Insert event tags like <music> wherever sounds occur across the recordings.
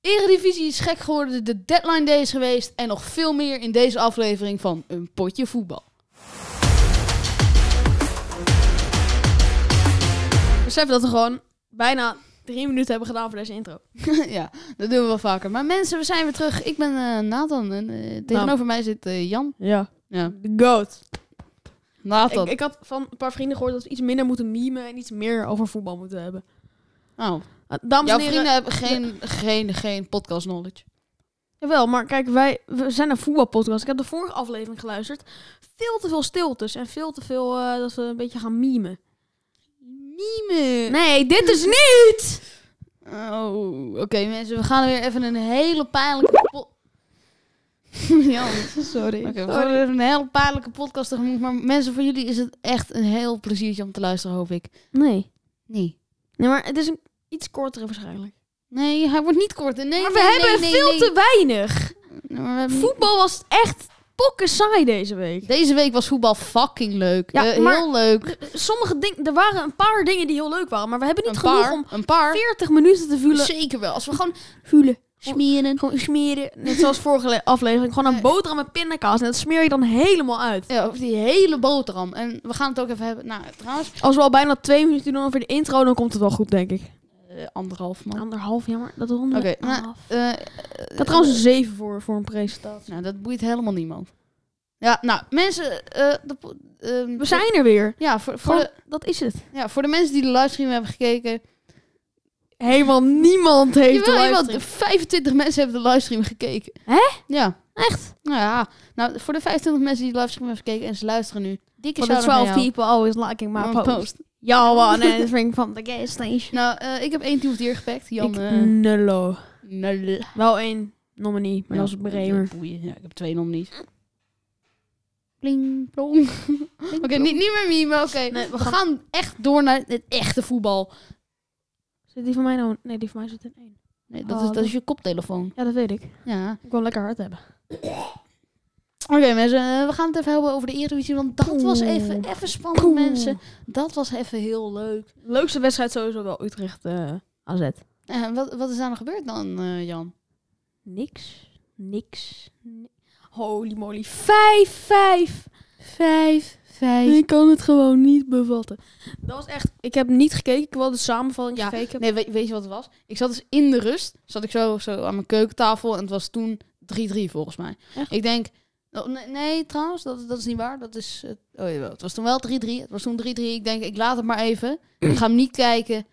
Eredivisie is gek geworden, de deadline day is geweest en nog veel meer in deze aflevering van Een Potje Voetbal. <laughs> Besef dat we gewoon bijna drie minuten hebben gedaan voor deze intro. ja, dat doen we wel vaker. Maar mensen, we zijn weer terug. Ik ben eh, Nathan en eh, tegenover mij zit eh, Jan. Ja. Ja, De goat. Nathan. Ik, ik had van een paar vrienden gehoord dat we iets minder moeten memen en iets meer over voetbal moeten hebben. Nou, Ah, Dames jouw en heren, vrienden hebben geen, geen, geen podcast knowledge. Jawel, maar kijk, wij we zijn een voetbalpodcast. Ik heb de vorige aflevering geluisterd. Veel te veel stiltes en veel te veel eh, dat we een beetje gaan mimen. Niemand. Nee, dit is niet! Oh, oké mensen, we gaan weer even een hele pijnlijke... po- <laughs> Jan, <laughs> Sorry. Oké, we gaan weer een hele pijnlijke podcast tegemoet. Maar mensen, voor jullie is het echt een heel pleziertje om te luisteren, hoop ik. Nee. Nee. Nee, maar het is een iets kortere waarschijnlijk. Nee, hij wordt niet kort. Nee, maar we nee, nee, hebben nee, veel nee. te weinig. Nee, maar we hebben niet- Voetbal was echt pokken saai deze week. Deze week was voetbal fucking leuk. Ja, Eh, maar- heel leuk. Er- Sommige dingen, er waren een paar dingen die heel leuk waren, maar we hebben niet Een genoeg paar, om een paar. 40 minuten te vullen. Zeker wel. Als we gewoon Vullen. smeren. Gewoon smeren. Net <laughs> zoals vorige le- aflevering. Gewoon een Nee. boterham met pindakaas. En dat smeer je dan helemaal uit. Ja, over die hele boterham. En we gaan het ook even hebben. Nou, trouwens, Als we al bijna twee minuten doen over de intro, dan komt het wel goed, denk ik. eh, anderhalf man. Anderhalf, jammer. Dat ronden Oké, we nou, af. eh, Ik had trouwens een zeven voor, voor een presentatie. nou, dat boeit helemaal niemand. Ja, nou, mensen. eh, de, po- ehm, We zijn er weer. Ja, voor, voor, Gewoon, de, dat is het. ja, voor de mensen die de livestream hebben gekeken. Helemaal niemand heeft Jawel, de jawel, livestream. 25 mensen hebben de livestream gekeken. Hè? Ja. Echt? Nou ja. Nou, voor de 25 mensen die de livestream hebben gekeken en ze luisteren nu. Dikke Want de shout-out naar 12 jou. people always liking my Mijn post. post. Y'all <laughs> want anything from the gas station. Nou, eh, ik heb één team of the year gepakt. Jan, Ik- eh, nullo. nul. Wel één nominee, maar dat is Bremer. Boeien. Ja, ik heb twee nominees. Pling, plong. <laughs> Oké, niet, niet meer meme, oké. Nee, we we, gaan- gaan... echt door naar het echte voetbal. Zit die van mij nou? Nee, die van mij zit in één. Nee, dat, Oh, is, dat dat- is je koptelefoon. Ja, dat weet ik. Ja. Ik wil lekker hard hebben. Oké mensen, eh, we gaan het even hebben over de Eredivisie, want dat was even, even spannend Poeh. mensen. Dat was even heel leuk. Leukste wedstrijd sowieso wel Utrecht eh AZ. En Eh, wat, wat is daar nog gebeurd dan, eh, Jan? Niks. Niks. Ni- Holy moly. Vijf, vijf. Vijf, vijf. Ik kan het gewoon niet bevatten. Dat was echt... Ik heb niet gekeken. Ik heb wel de samenvatting Ja, gekeken. Nee, weet, weet je wat het was? Ik zat dus in de rust, zat ik zo, zo aan mijn keukentafel en het was toen 3-3 volgens mij. Echt? Ik denk, oh, nee, nee, trouwens, dat, dat is niet waar. Dat is, eh, oh jawel, het was toen wel 3-3. Het was toen 3-3. Ik denk, ik laat het maar even. Ik ga hem niet kijken.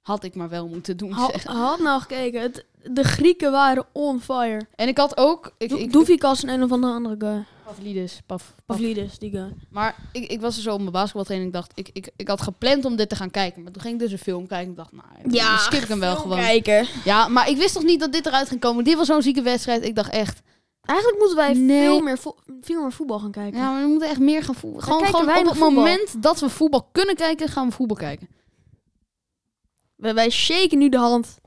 Had ik maar wel moeten doen. Ha- zeg. had nou gekeken. Het- de Grieken waren on fire. En ik had ook... Ik, Do ik, Doefikas en een of andere guy. Pavlidis, Pav, Pav- Pavlidis, die eh, guy. Maar ik, ik was er zo op mijn basketbaltraining. Ik dacht, ik, ik, ik had gepland om dit te gaan kijken. Maar toen ging ik dus een film kijken. Ik dacht, nou, dan skip ik hem wel gewoon. kijken. Ja, maar ik wist toch niet dat dit eruit ging komen. Dit was zo'n zieke wedstrijd. Ik dacht echt, Eigenlijk moeten wij Nee. veel, meer vo- veel meer voetbal gaan kijken. ja, maar we moeten echt meer gaan voetballen. Gewoon, kijken gewoon op weinig het voetbal. moment dat we voetbal kunnen kijken, gaan we voetbal kijken. Wij, wij shaken nu de hand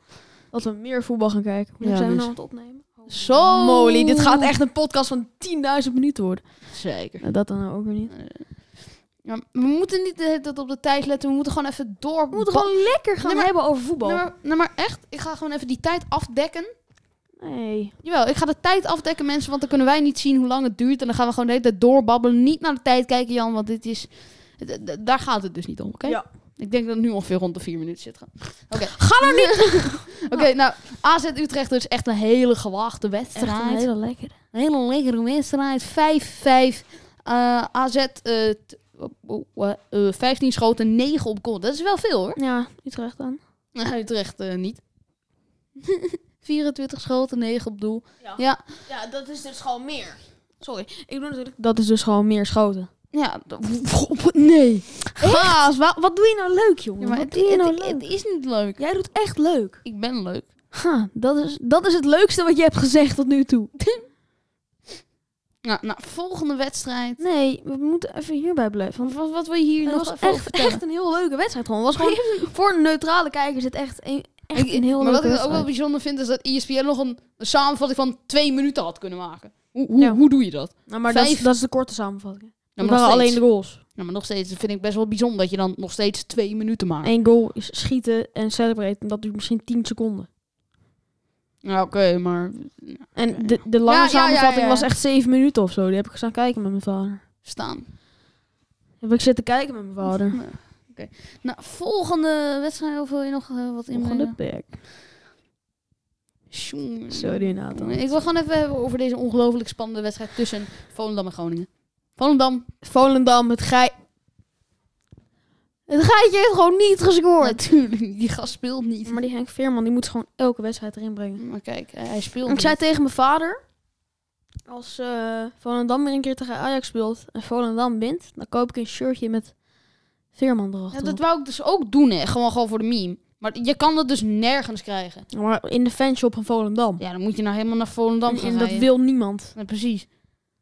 dat we meer voetbal gaan kijken. Hoe Ja, zijn we dus- nou aan het opnemen? Oh. Zo. Moly, dit gaat echt een podcast van 10.000 minuten worden. Zeker. dat dan ook weer niet. Ja, we moeten niet de hele tijd op de tijd letten. We moeten gewoon even door. We moeten gewoon lekker gaan Nee, maar- hebben over voetbal. Nee, maar, nee, maar echt, ik ga gewoon even die tijd afdekken. Nee. Jawel, ik ga de tijd afdekken, mensen, want dan kunnen wij niet zien hoe lang het duurt. En dan gaan we gewoon de hele tijd doorbabbelen. Niet naar de tijd kijken, Jan, want dit is... d- d- Daar gaat het dus niet om, oké? Ja. Ik denk dat het nu ongeveer rond de vier minuten zit. Ga nou niet! <laughs> Oké, nou, AZ Utrecht is echt een hele gewaagde wedstrijd. lekker. Een hele lekkere wedstrijd. 5-5. Eh, AZ eh, t- oh, oh, eh, eh, 15 schoten, 9 op goal. Dat is wel veel hoor. <laughs> Ja, Utrecht dan. Nou, Utrecht eh, niet. <laughs> 24 schoten, 9 op doel. Ja. Ja, Ja, dat is dus gewoon meer. Sorry, ik doe natuurlijk... Dat is dus gewoon meer schoten. ja. <laughs> d- nee. Gaas, wa- wat doe je nou leuk, jongen? Ja, maar wat het, doe je het- nou het- leuk? het is niet leuk. Jij doet echt leuk. Ik ben leuk. Ha, dat is, dat is het leukste wat je hebt gezegd tot nu toe. Nou, nou volgende wedstrijd. Nee, we moeten even hierbij blijven. Want Wat, wat wil je hier het nog was even over echt, <laughs> vertellen? echt een heel leuke wedstrijd gewoon. Het <laughs> was gewoon voor een neutrale kijker zit echt een, echt Ik- een heel maar leuke wat ik ook wel wedstrijd. bijzonder vind, is dat E ESPN nog een, een samenvatting van twee minuten had kunnen maken. Hoe, hoe, Ja. hoe doe je dat? Nou, maar dat is, Vijf. dat is de korte samenvatting. Nou, dat maar waren nog alleen steeds. de goals. Nou, maar nog steeds vind ik best wel bijzonder dat je dan nog steeds twee minuten maakt. Eén goal is schieten en celebrate. En dat duurt misschien 10 seconden. Ja, oké, maar En de, de lange Ja, ja, ja, samenvatting ja. was echt zeven minuten of zo. Die heb ik gestaan kijken met mijn vader. staan. Heb ik zitten kijken met mijn <laughs> vader. Ja, Oké. Nou, volgende wedstrijd of wil je nog eh, wat Volgende in? pack. Tjoen. Sorry Nathan. Ik wil gewoon even hebben over deze ongelooflijk spannende wedstrijd tussen Volendam en Groningen. Volendam, Volendam, het geit... Het geitje heeft gewoon niet gescoord. natuurlijk, die gast speelt niet. Maar die Henk Veerman, die moet gewoon elke wedstrijd erin brengen. Maar kijk, eh, hij speelt Ik zei niet. tegen mijn vader... Als eh, Volendam weer een keer tegen Ajax speelt en Volendam wint... dan koop ik een shirtje met Veerman Ja, erachterop. dat wou ik dus ook doen, hè. Gewoon, gewoon voor de meme. Maar je kan dat dus nergens krijgen. Maar in de fanshop van Volendam. Ja, dan moet je nou helemaal naar Volendam en, gaan en dat rijden. wil niemand. Ja, precies.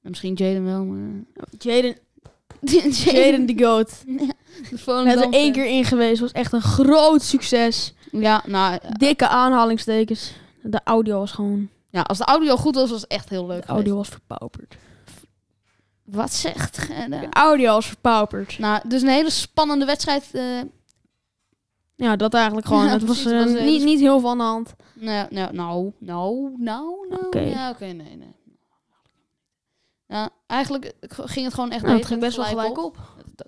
En misschien Jaden wel, maar... Jaden, <laughs> Jaden, Jaden de Goat. de Hij is Volendam. er één keer in geweest. Was echt een groot succes. Ja, nou... eh, Dikke aanhalingstekens. De audio was gewoon... Ja, als de audio goed was, was het echt heel leuk De audio was verpauperd. geweest. Wat zegt gij nou? De audio was verpauperd. Nou, dus een hele spannende wedstrijd. eh, Ja, dat eigenlijk <laughs> gewoon. Ja, het was precies, het eh, was, eh, niet, niet heel veel aan de hand. nou, nou, nou, nou, nou, nou. Oké. Ja, oké, nee, nee. Nou, eigenlijk eh, ging het gewoon echt Nou, het beter ging best wel gelijk op. Dat-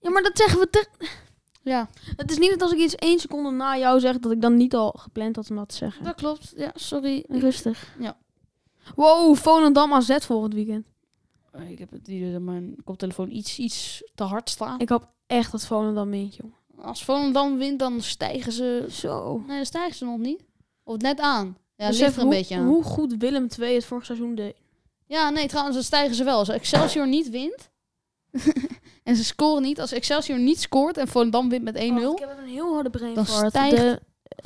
Ja, maar dat zeggen we... Te... Ja, Het is niet dat als ik iets één seconde na jou zeg... dat ik dan niet al gepland had om dat te zeggen. dat klopt. Ja, sorry. Rustig. Ja. Wow, Volendam AZ volgend weekend. Eh, Ik heb het hier op mijn koptelefoon iets, iets te hard staan. Ik hoop echt dat Volendam wint, joh. Als Volendam wint, dan stijgen ze... Zo. Nee, dan stijgen ze nog niet. Of net aan. Ja, ligt Besef er een Dus hoe, beetje aan. Hoe goed Willem II het vorig seizoen deed. Ja, nee, trouwens, dan stijgen ze wel. Als Excelsior niet <laughs> wint... en ze scoren niet. Als Excelsior niet scoort en Volendam wint met 1-0... Oh, ik heb even een heel harde brain Dan fart. stijgt De-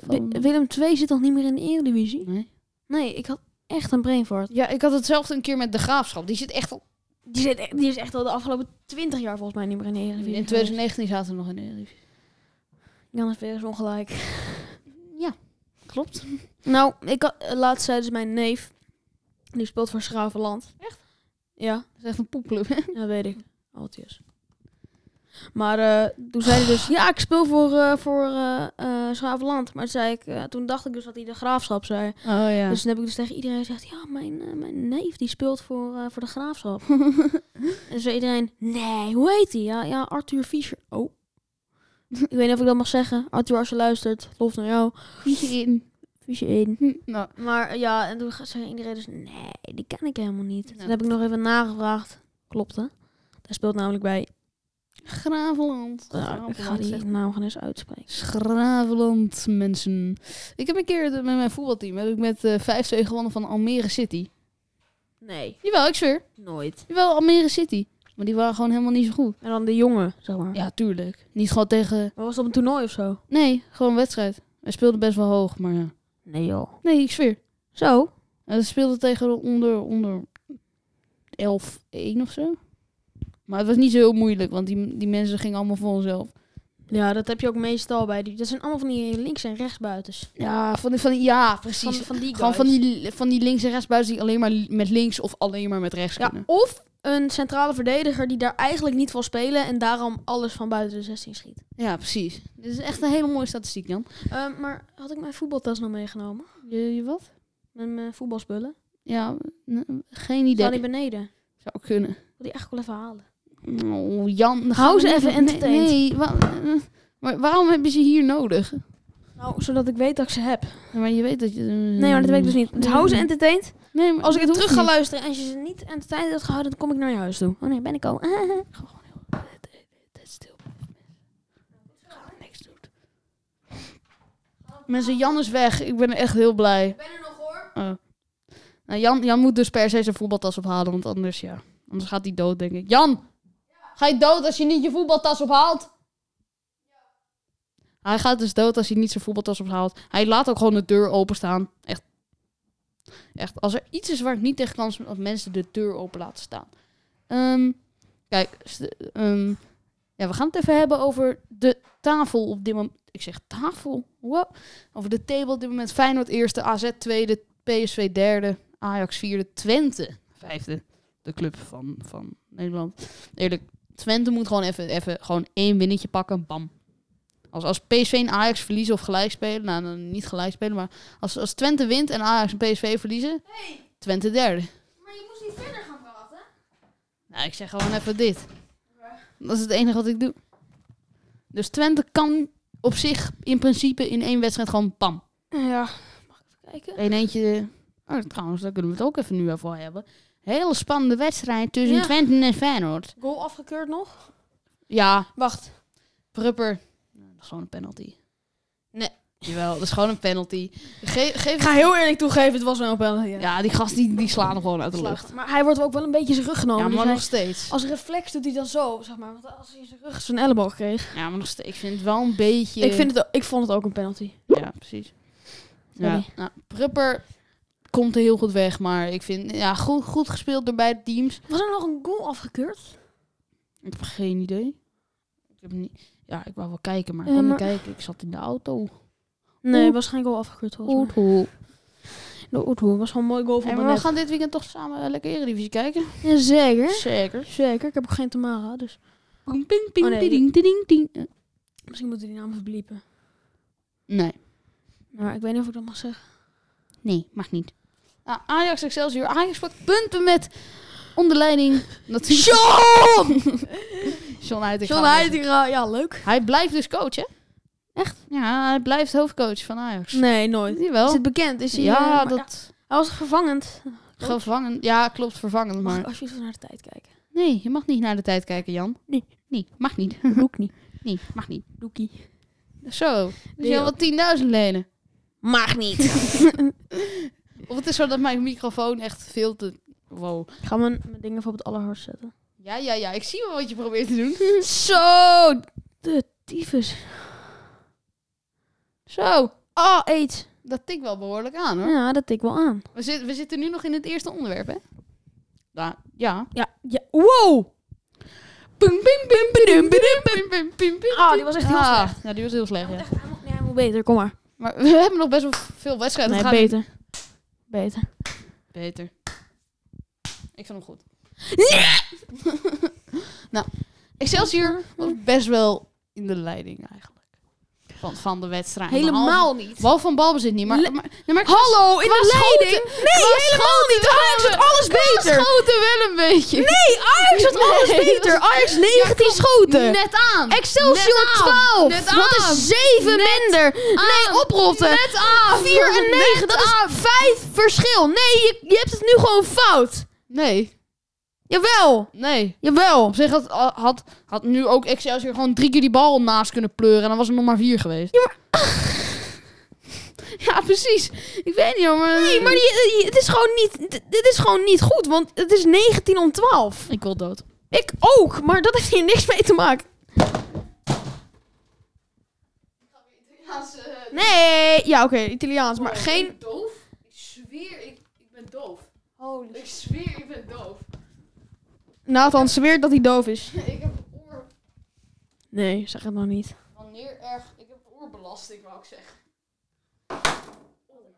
Van- Wi- Willem II zit nog niet meer in de Eredivisie. Nee. Nee, ik had echt een brain fart. Ja, ik had hetzelfde een keer met de Graafschap. Die zit echt al... Die, zit, e- die is echt al de afgelopen 20 jaar volgens mij niet meer in de In Eredivisie. 2019 zaten we nog in de Eredivisie. Jan heeft weer eens ongelijk. Ja, klopt. Nou, ik had, eh, laatst zei dus mijn neef. Die speelt voor Schravenland. Echt? Ja, Dat is echt een poepclub, hè? dat weet ik. Altijd. Maar eh, toen zei hij dus, Ah. ja, ik speel voor, eh, voor eh, eh, Schravenland. Maar toen zei ik, eh, toen dacht ik dus dat hij de graafschap zei. Oh ja. Dus dan heb ik dus tegen iedereen gezegd, ja, mijn, eh, mijn neef die speelt voor, eh, voor de <laughs> graafschap. en zei iedereen, nee, hoe heet hij? Ja, ja, Arthur Fischer. Oh. ik weet niet of ik dat mag zeggen. Arthur, als je luistert, lof naar jou. in. <laughs> Fischer 1. Nou, Maar eh, ja, en toen zei iedereen dus, nee, die ken ik helemaal niet. Ja. Toen heb ik nog even nagevraagd. Klopt, hè? Daar speelt namelijk bij. Graveland. Ja, ik ga Graveland, die zeg. naam gaan eens uitspreken. Schraveland, mensen. Ik heb een keer de- met mijn voetbalteam heb ik met eh 5-2 gewonnen van Almere City. Nee, Jawel, ik zweer. nooit. Jawel, Almere City. Maar die waren gewoon helemaal niet zo goed. En dan de jongen, zeg maar. Ja, tuurlijk. Niet gewoon tegen... Maar was dat een toernooi of zo? Nee, gewoon wedstrijd. Wij speelden best wel hoog, maar ja. Nee, joh. Nee, ik zweer. Zo? En dat speelde tegen de onder, onder 11-1 of zo. Maar het was niet zo heel moeilijk, want die, die mensen gingen allemaal voor onszelf. Ja, dat heb je ook meestal bij die. Dat zijn allemaal van die links- en rechtsbuitens. Ja, van die, van die, ja Van, precies. van die Gewoon van guys. die, van die links- en rechtsbuiten die alleen maar li- met links of alleen maar met rechts Ja, kunnen. of een centrale verdediger die daar eigenlijk niet wil spelen en daarom alles van buiten de 16 schiet. Ja, precies. Dit is echt een hele mooie statistiek, Jan. Ehm, maar had ik mijn voetbaltas nog meegenomen? Je, je wat? Met mijn voetbalspullen? Ja, n- geen idee. Staan die beneden? Ik Zou kunnen. Wil die echt wel even halen? Oh, Jan. dan Hou gaan we ze niet- even nee, entertained. Nee, wa- eh, maar waarom hebben ze hier nodig? Nou, zodat ik weet dat ik ze heb. Ja, Maar je weet dat je... Nee, maar dat weet ik dus niet. Dus hou ze entertained. Nee, maar Als ik dat het hoeft terug ga niet. luisteren en als je ze niet entertained hebt gehouden, dan kom ik naar je huis toe. Oh nee, ben ik al. <laughs> Dit stil niks doen. Mensen, Jan is weg. Ik ben echt heel blij. ben er nog hoor. Oh. Nou, Jan, Jan moet dus per se zijn voetbaltas ophalen, want anders ja. Anders gaat hij dood, denk ik. Jan! Ga je dood als je niet je voetbaltas ophaalt? Hij gaat dus dood als hij niet zijn voetbaltas ophaalt. Hij laat ook gewoon de deur openstaan. Echt. Echt. Als er iets is waar ik niet tegen kan, is dat mensen de deur open laten staan. Ehm, kijk. st- ehm, ja, we gaan het even hebben over de tafel op dit moment. Ik zeg tafel? Wow. Over de table op dit moment. Feyenoord eerste, AZ tweede, PSV derde, Ajax vierde, Twente vijfde. De club van, van Nederland. Eerlijk, Twente moet gewoon even, even gewoon één winnetje pakken. Bam. Als, als PSV en Ajax verliezen of gelijk spelen, nou dan niet gelijk spelen, maar als, als Twente wint en Ajax en PSV verliezen, Twente derde. Maar je moest niet verder gaan praten. Nou, ik zeg gewoon even dit. Dat is het enige wat ik doe. Dus Twente kan op zich in principe in één wedstrijd gewoon pam. Nou Ja, mag ik even kijken? Eén eentje. Oh, trouwens, daar kunnen we het ook even nu over hebben. Hele spannende wedstrijd tussen Ja. Twente en Feyenoord. Goal afgekeurd nog? Ja, Wacht. Prupper. Nou, Dat is gewoon een penalty. Nee. Jawel, dat is gewoon een penalty. Ge- Ik geef... ga heel eerlijk toegeven, het was wel een penalty. Ja. Ja, die gast die, die slaat hem gewoon uit de lucht. Maar hij wordt ook wel een beetje zijn rug Ja, genomen. maar Oh. dus nog hij- steeds. als reflex doet hij dan zo, zeg maar. Want als hij zijn rug zijn elleboog kreeg. Ja, maar nog steeds. Ik vind het wel een beetje... Ik, vind het, ook- ik vond het ook een penalty. Ja, precies. Ja. Sorry. Nou, Prupper komt er heel goed weg, maar ik vind... Ja, goed, goed gespeeld door beide teams. Was er nog een goal afgekeurd? Ik heb geen idee. Ik heb niet... Ja, ik wou wel kijken, maar ik Ja, kon maar- niet kijken. Ik zat in de auto. Nee, Oeh. was geen goal afgekeurd volgens mij. Goed, hoe. De Oethoe was gewoon een mooi goal van En we Manet. gaan dit weekend toch samen eh, lekker Eredivisie kijken? Ja, zeker. Zeker. Zeker. Ik heb ook geen Tamara, dus Ping, ping, ping, Oh, nee, ding, ding, ding. Eh, misschien moeten we die naam verbliepen. Nee. Maar ik weet niet of ik dat mag zeggen. Nee, mag niet. Nou, Ajax Excelsior. Ajax pakt punten met onder <laughs> leiding. Natuurlijk. <laughs> John! John Heitinga. ja, leuk. Hij blijft dus coach, hè? Echt? Ja, hij blijft hoofdcoach van Ajax. Nee, nooit. Is Jawel. het bekend? Is hij, eh, Ja, maar dat... Hij was vervangend. Gevangen. Ja, klopt, vervangend, Mag <laughs> maar... ik alsjeblieft naar de tijd <laughs> kijken? Nee, je mag niet naar de tijd kijken, Jan. Nee. Nee, mag <laughs> niet. Doe ik niet. Nee, mag niet. Doekie. Zo. Dus je Ja. wil wel 10.000 lenen. Mag <laughs> niet. Of het is zo dat mijn microfoon echt veel te... Wow. Ik ga mijn, mijn dingen voor op het allerhardst zetten. Ja, ja, ja. Ik zie wel wat je probeert te doen. Zo! De tyfus. Zo. Oh, aids. Dat tikt wel behoorlijk aan, hoor. Ja, dat tik wel aan. We, zit- we zitten nu nog in het eerste onderwerp, hè? Ja. ja. Ja, ja. Wow! Pum, pim, pim, pim, pim, pim, pim, pim, pim. Ah, die was echt heel Ah, slecht. Ja, die was heel slecht, Hij ja. moet echt- hij moet- Nee, hij moet beter. Kom maar. Maar we hebben nog best wel veel wedstrijden. Nee, te gaan. beter. Beter. Beter. Ik vind hem goed. <laughs> nou, Excelsior was best wel in de leiding eigenlijk. Van, van de wedstrijd. Behalve- Helemaal niet. Behalve van balbezit niet, maar... Le- maar, nee, maar Hallo, in de leiding. Nee, Qua helemaal niet. Ajax had alles Beter. beter. schoten wel een beetje. Nee, Ajax had alles Nee, beter. dat was- Ajax 19 schoten. Net aan. Excelsior Net aan. 12. Net dat aan. is 7 minder. aan. Nee, oprotten. Net aan. 4 en 9, dat is 5 verschil. Nee, je, je hebt het nu gewoon fout. Nee, Jawel. nee. Jawel. Op zich had, had, had nu ook Excelsior gewoon drie keer die bal naast kunnen pleuren. En dan was er nog maar vier geweest. Ja, precies. Ik weet niet, hoor, maar... Nee, maar die- die- het is gewoon niet, dit- dit is gewoon niet goed, want het is 19 om 12. Ik wil dood. Ik ook, maar dat heeft hier niks mee te maken. Oh, eh, Nee, ja oké, Italiaans, maar geen... doof? Ik zweer, ik, ik ben doof. Holy. zweer, ik ben doof. <laughs> Nathan zweert dat hij doof is. ik heb oor... Nee, zeg het nog niet. Wanneer erg... Ik heb oorbelasting, wou ik zeggen. Oh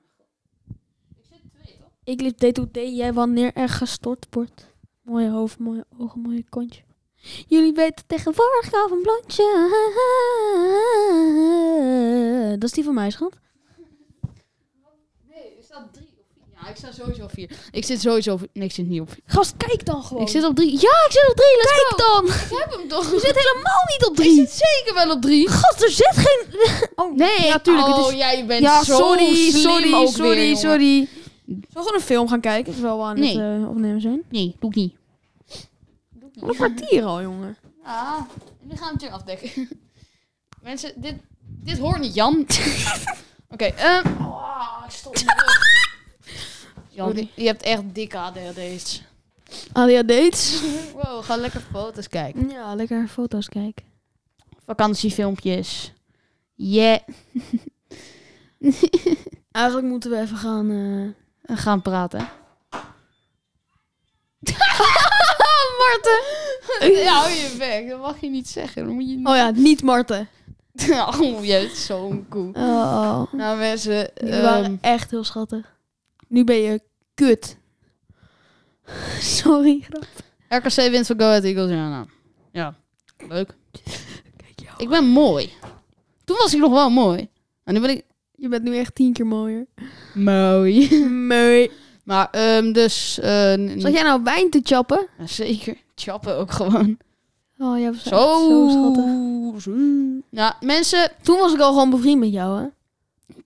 Ik zit twee, toch? Ik liep D2D, jij wanneer er gestort wordt. Mooie hoofd, mooie ogen, mooie kontje. Jullie weten tegenwoordig al een blondje. Dat is die van mij, schat. Nee, er staat drie of vier. Ja, ik sta sowieso op vier. Ik zit sowieso op vier. Nee, ik zit niet op vier. Gast, kijk dan gewoon. Ik zit op drie. Ja, ik zit op drie. Let's Kijk go. dan! Ik heb hem toch. Je zit helemaal niet op Ik drie. zit zeker wel op drie. Gast, er zit geen... <laughs> Oh, Nee, ja, tuurlijk, het Oh, is- jij bent Ja, zo sorry, slim sorry, ook sorry, weer, jongen. sorry. Zullen we gewoon een film gaan kijken terwijl we aan Nee. het eh, opnemen zijn? Nee, doe ik niet. Een kwartier al, jongen. Ah, nu gaan we het weer afdekken. <laughs> Mensen, dit, dit hoort niet, Jan. <laughs> Oké, ehm... Ah, ik stop mijn rug. <laughs> Jan, Sorry. je hebt echt dikke ADHD's. ADHD's. Wow, ga lekker foto's kijken. <laughs> Ja, lekker foto's kijken. Vakantiefilmpjes. Yeah. Eigenlijk moeten we even gaan... eh, We gaan <laughs> praten. Marten! <laughs> Ja, hou je bek. Dat mag je niet zeggen. Dan moet je niet... Oh ja, niet Marten. <laughs> Oh, je hebt zo'n koe. Oh, oh. Nou mensen, Die ehm, waren echt heel schattig. Nu ben je kut. Sorry, grap. RKC wint van Go Ahead Eagles. Ja, nou. ja, leuk. Kijk jou. Ik ben mooi. Toen was hij nog wel mooi. En nu ben ik Je bent nu echt tien keer <clears throat> mooier. mooi. Mooi. <laughs> Maar ehm, dus... eh, n- Zat jij nou wijn te chappen? Ja, Zeker. Chappen ook gewoon. Oh, jij was Zo, zo schattig. zo. Ja, mensen... Toen was ik al gewoon bevriend met jou, hè?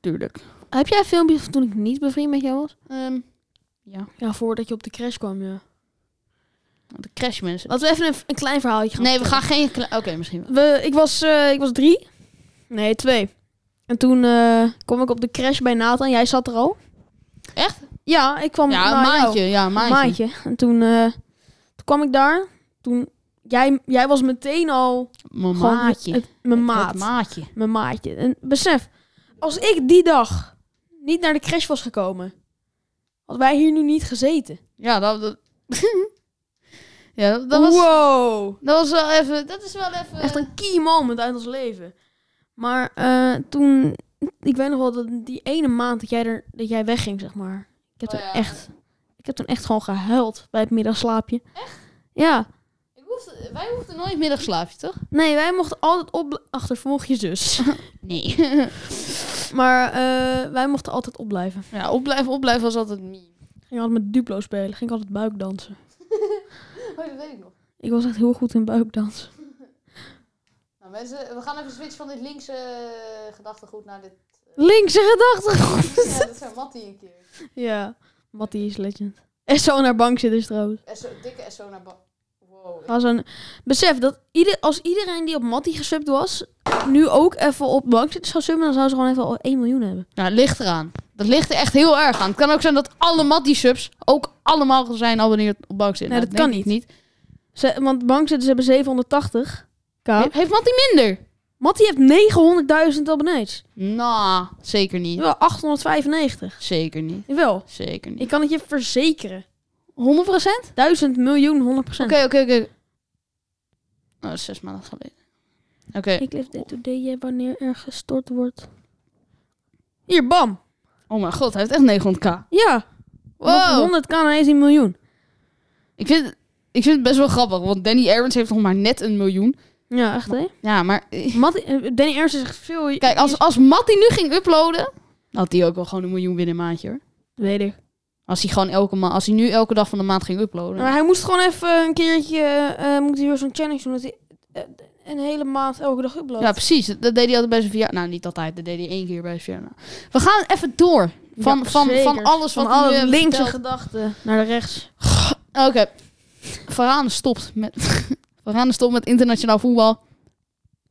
Tuurlijk. Heb jij filmpjes van toen ik niet bevriend met jou was? Ehm, Ja, voordat je op de crash kwam, ja. de crash mensen. Laten we even een, een klein verhaaltje gaan Nee, we vertellen. gaan geen... kle- Oké, misschien wel. We, ik, was, eh, ik was drie. Nee, twee. En toen eh, kwam ik op de crash bij Nathan. Jij zat er al. Echt? Ja, ik kwam Ja, een naar nou, jou. maandje. Ja, een Een maandje. maandje. En toen, eh, toen kwam ik daar. Toen, jij, jij was meteen al Mijn gewoon maatje. het- mijn Het- maat. Het maatje. mijn maatje. En besef, als ik die dag niet naar de crash was gekomen, hadden wij hier nu niet gezeten. Ja, dat... dat- <laughs> ja, dat, dat was... wow! Dat was wel even... Dat is wel even... Echt een key moment uit ons leven. Maar eh, toen, ik weet nog wel dat die ene maand dat jij, er, dat jij wegging, zeg maar. Ik heb, Oh toen ja. echt, ik heb toen echt gewoon gehuild bij het middagslaapje. Echt? Ja. Ik hoefde, wij hoefden nooit middagslaapje, toch? Nee, wij mochten altijd op... Achtervolg je <laughs> zus. Nee. maar eh, wij mochten altijd opblijven. ja, opblijven, opblijven was altijd meme. Ging altijd met Duplo spelen. Ging altijd buikdansen. Oh, dat weet ik nog. Ik was echt heel goed in buikdansen. Nou, mensen, we gaan even switchen van dit linkse eh, gedachtegoed naar <laughs> dit... Linkse gedachten. ja, dat zijn Mattie een keer. <laughs> ja. Mattie is legend. En zo naar bank zitten is trouwens. SO, dikke SO naar ba- Wow. Als een, besef dat ieder, als iedereen die op Mattie gesubt was, nu ook even op bank zit, zou subben, dan zou ze gewoon even al 1 miljoen hebben. Nou, het ligt eraan. Dat ligt er echt heel erg aan. Het kan ook zijn dat alle Mattie-subs ook allemaal zijn abonneerd op Bank Nou, Nee, dat kan niet. Ze, want bank zitten, ze hebben 780k. He- Heeft Mattie minder? Mattie heeft 900.000 abonnees. Nou, zeker niet. Wel 895. Zeker niet. Jawel. Zeker niet. Ik kan het je verzekeren. 100 procent? 1000 miljoen 100 procent. Oké, oké, oké. Oh, zes maanden geleden. Oké. Ik leef dit today wanneer er gestort wordt. Hier, bam. Oh mijn god, hij heeft echt 900k. Ja. Wow. Wow. 100k en is een miljoen. Ik vind, ik vind het best wel grappig, want Danny Aarons heeft nog maar net een miljoen. Ja, echt hè? Ja, maar... eh, Mattie, eh, Danny Ernst is echt veel... Kijk, als, als Mattie nu ging uploaden, dan had hij ook wel gewoon een miljoen binnen een maandje, hoor. Weet ik. Als hij gewoon elke maand... Als hij nu elke dag van de maand ging uploaden. Maar hij moest gewoon even een keertje, eh, moet hij weer zo'n challenge doen, dat hij eh, een hele maand elke dag uploadt. ja, precies. Dat dat deed hij altijd bij zijn verjaardag. Nou, niet altijd. Dat deed hij één keer bij zijn verjaardag. We gaan even door. Van, Ja, van, van zeker. alles Van wat we nu alle hebben linkse verteld. gedachten naar de rechts. Oké. Varane stopt met... <laughs> Varane stopt met internationaal voetbal.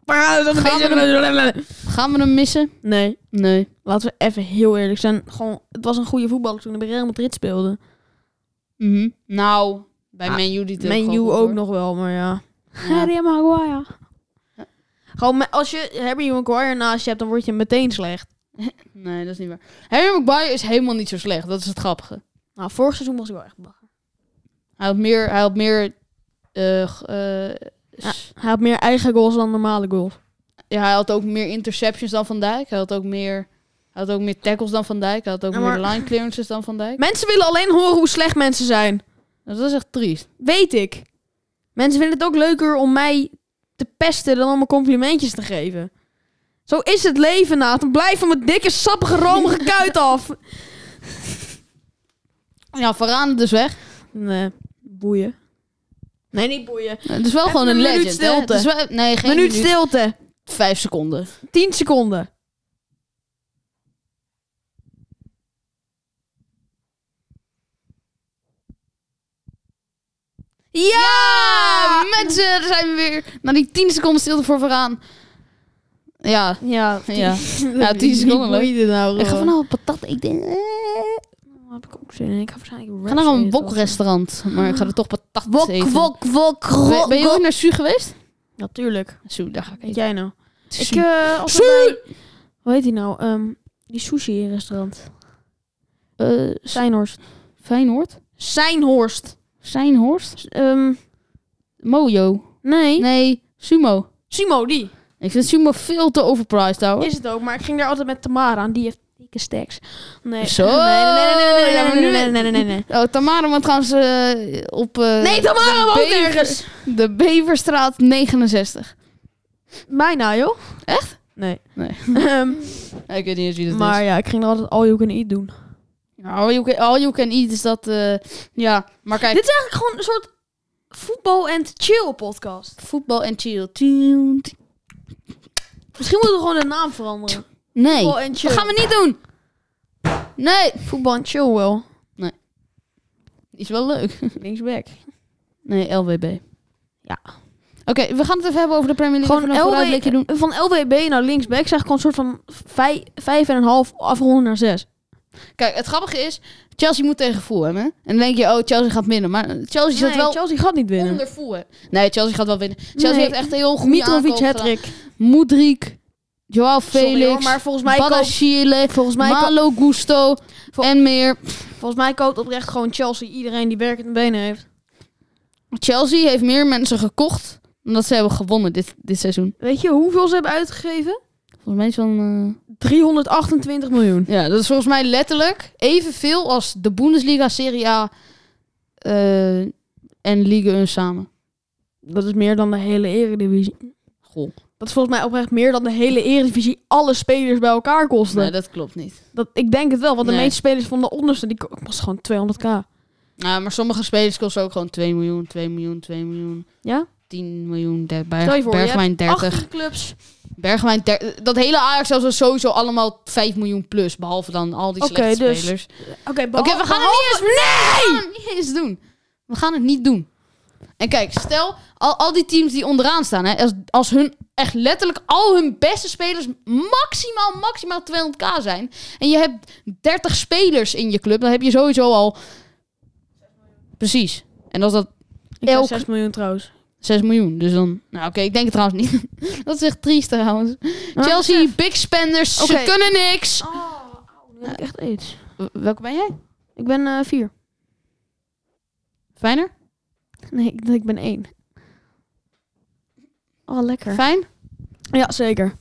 Gaan we Gaan we hem missen? Nee, Nee. laten we even heel eerlijk zijn. Gewoon, het was een goede voetballer toen hij bij Real Madrid speelde. Mhm. Nou, bij Ah, Man U die Man U ook nog wel, maar ja. Harry Maguire. Gewoon, me- als je Harry Maguire naast je hebt, dan word je meteen slecht. Nee, dat is niet waar. Harry Maguire is helemaal niet zo slecht. Dat is het grappige. Nou, vorig seizoen was hij wel echt bagger. Hij had meer... Hij had meer eh, g- eh, s- Hij had meer eigen goals dan normale goals. ja, hij had ook meer interceptions dan Van Dijk. Hij had ook meer... Hij had ook meer tackles dan Van Dijk. Hij had ook Ja, meer maar- line clearances dan Van Dijk. Mensen willen alleen horen hoe slecht mensen zijn. Dat is echt triest. Weet ik. Mensen vinden het ook leuker om mij te pesten dan om me complimentjes te geven. Zo is het leven, Nathan. Blijf van mijn dikke, sappige, <laughs> romige kuit af. Ja, Varane dus weg. Nee, boeien. Nee, niet boeien. Het is wel Even gewoon een, een minuut legend. hè. stilte. Het is wel- nee, geen Minuut minuut. stilte. Vijf seconden. 10 seconden. Ja! Ah, mensen, daar zijn we weer. Na die tien seconden stilte voor Varane. Ja. Ja, <laughs> Ja. Ja, 10 Wie seconden, leuk. boeide nou, Ik ga gewoon? vanavond patat. Ik denk... eh, Daar heb ik ook zin in. Ik ga waarschijnlijk Ik ga naar een bokrestaurant, maar ik ga er toch patat eten. wok, Ben, ben je ooit naar Su geweest? Natuurlijk. Su, daar ga ik Weet eten. jij nou? Ik, Su. eh, als we Su- bij- Hoe heet die nou? Ehm, die sushi-restaurant. Eh, Seinhorst. Feyenoord? Seinhorst. Seinhorst? Ehm, Mojo? nee. Nee, Sumo. Simo, die. Ik vind Sumo veel te overpriced, ouwe. Is het ook, maar ik ging daar altijd met Tamara aan. Die heeft dikke stacks. Nee. Zo. Nee, nee, nee, Ja, maar nee, nee, nee, nu- nee, nee, nee, nee, nee. Oh, Tamara woont trouwens eh, op eh, Nee, Tamara woont Bever- ergens. de Beverstraat 69. Bijna, joh. Echt? Nee. Nee. <laughs> Ehm, Ja, ik weet niet eens wie dat maar is. ja, ik ging er altijd all you can eat doen. All you, can, all you can eat is dat... eh, ja, maar kijk, Dit is eigenlijk gewoon een soort voetbal- en chill-podcast. voetbal en chill. Chill, chill. Misschien moeten we gewoon de naam veranderen. Nee, Voetbal en chill. dat gaan we niet doen. Nee. Voetbal en chill wel. Is wel leuk. <laughs> Linksback. Nee, LWB. Ja. Oké, we gaan het even hebben over de Premier League. Gewoon Even een vooruitblikje LW, doen. van LWB naar linksback zeg ik gewoon een soort van vijf, vijf en een half afronden naar zes. Kijk, het grappige is, Chelsea moet tegen Fulham, hè? En dan denk je, oh, Chelsea gaat winnen. Maar Chelsea zit Nee, wel Chelsea gaat niet winnen. onder Fulham. Nee, Chelsea gaat wel winnen. Chelsea Nee. heeft echt heel goed Mitrovic hat-trick. Moedrik, Joao Sorry hoor, Felix, maar volgens mij, koopt, Badashile, volgens, mij koopt, Malo Gusto Vol- en meer. volgens mij koopt oprecht gewoon Chelsea iedereen die werkende benen heeft. Chelsea heeft meer mensen gekocht dan dat ze hebben gewonnen dit, dit seizoen. Weet je hoeveel ze hebben uitgegeven? Volgens mij is wel een, eh, 328 miljoen. Ja, dat is volgens mij letterlijk evenveel als de Bundesliga, Serie A eh, en Ligue 1 samen. Dat is meer dan de hele eredivisie. Goh, Dat is volgens mij oprecht meer dan de hele eredivisie alle spelers bij elkaar kosten. nee, Dus dat klopt niet. dat, ik denk het wel, want de Nee. meeste spelers van de onderste die ko- was gewoon 200k. Nou, maar sommige spelers kosten ook gewoon 2 miljoen, 2 miljoen, 2 miljoen, Ja? 10 miljoen, der, Berg- Stel je voor, je Bergwijn 30. 18 clubs. Bergwijn 30. Dat hele Ajax was sowieso allemaal 5 miljoen plus, behalve dan al die Oké, slechte dus- spelers. Oké, Oké, we gaan behalve- het niet eens... Nee! We gaan het niet eens doen. We gaan het niet doen. En kijk, stel, al, al die teams die onderaan staan... Hè, als, als hun echt letterlijk al hun beste spelers maximaal, maximaal 200k zijn... en je hebt 30 spelers in je club, dan heb je sowieso al... Precies. En als dat Ik zei Elk- 6 miljoen trouwens. 6 miljoen, dus dan... Nou oké, ik denk het trouwens niet. <laughs> dat is echt triest trouwens. Chelsea, big spenders, Oké. ze kunnen niks. Oh, nu heb ik echt aids. Welke ben jij? Ik ben eh vier. Fijner? Nee, ik, ik ben één. Oh, lekker. Fijn? Ja, zeker.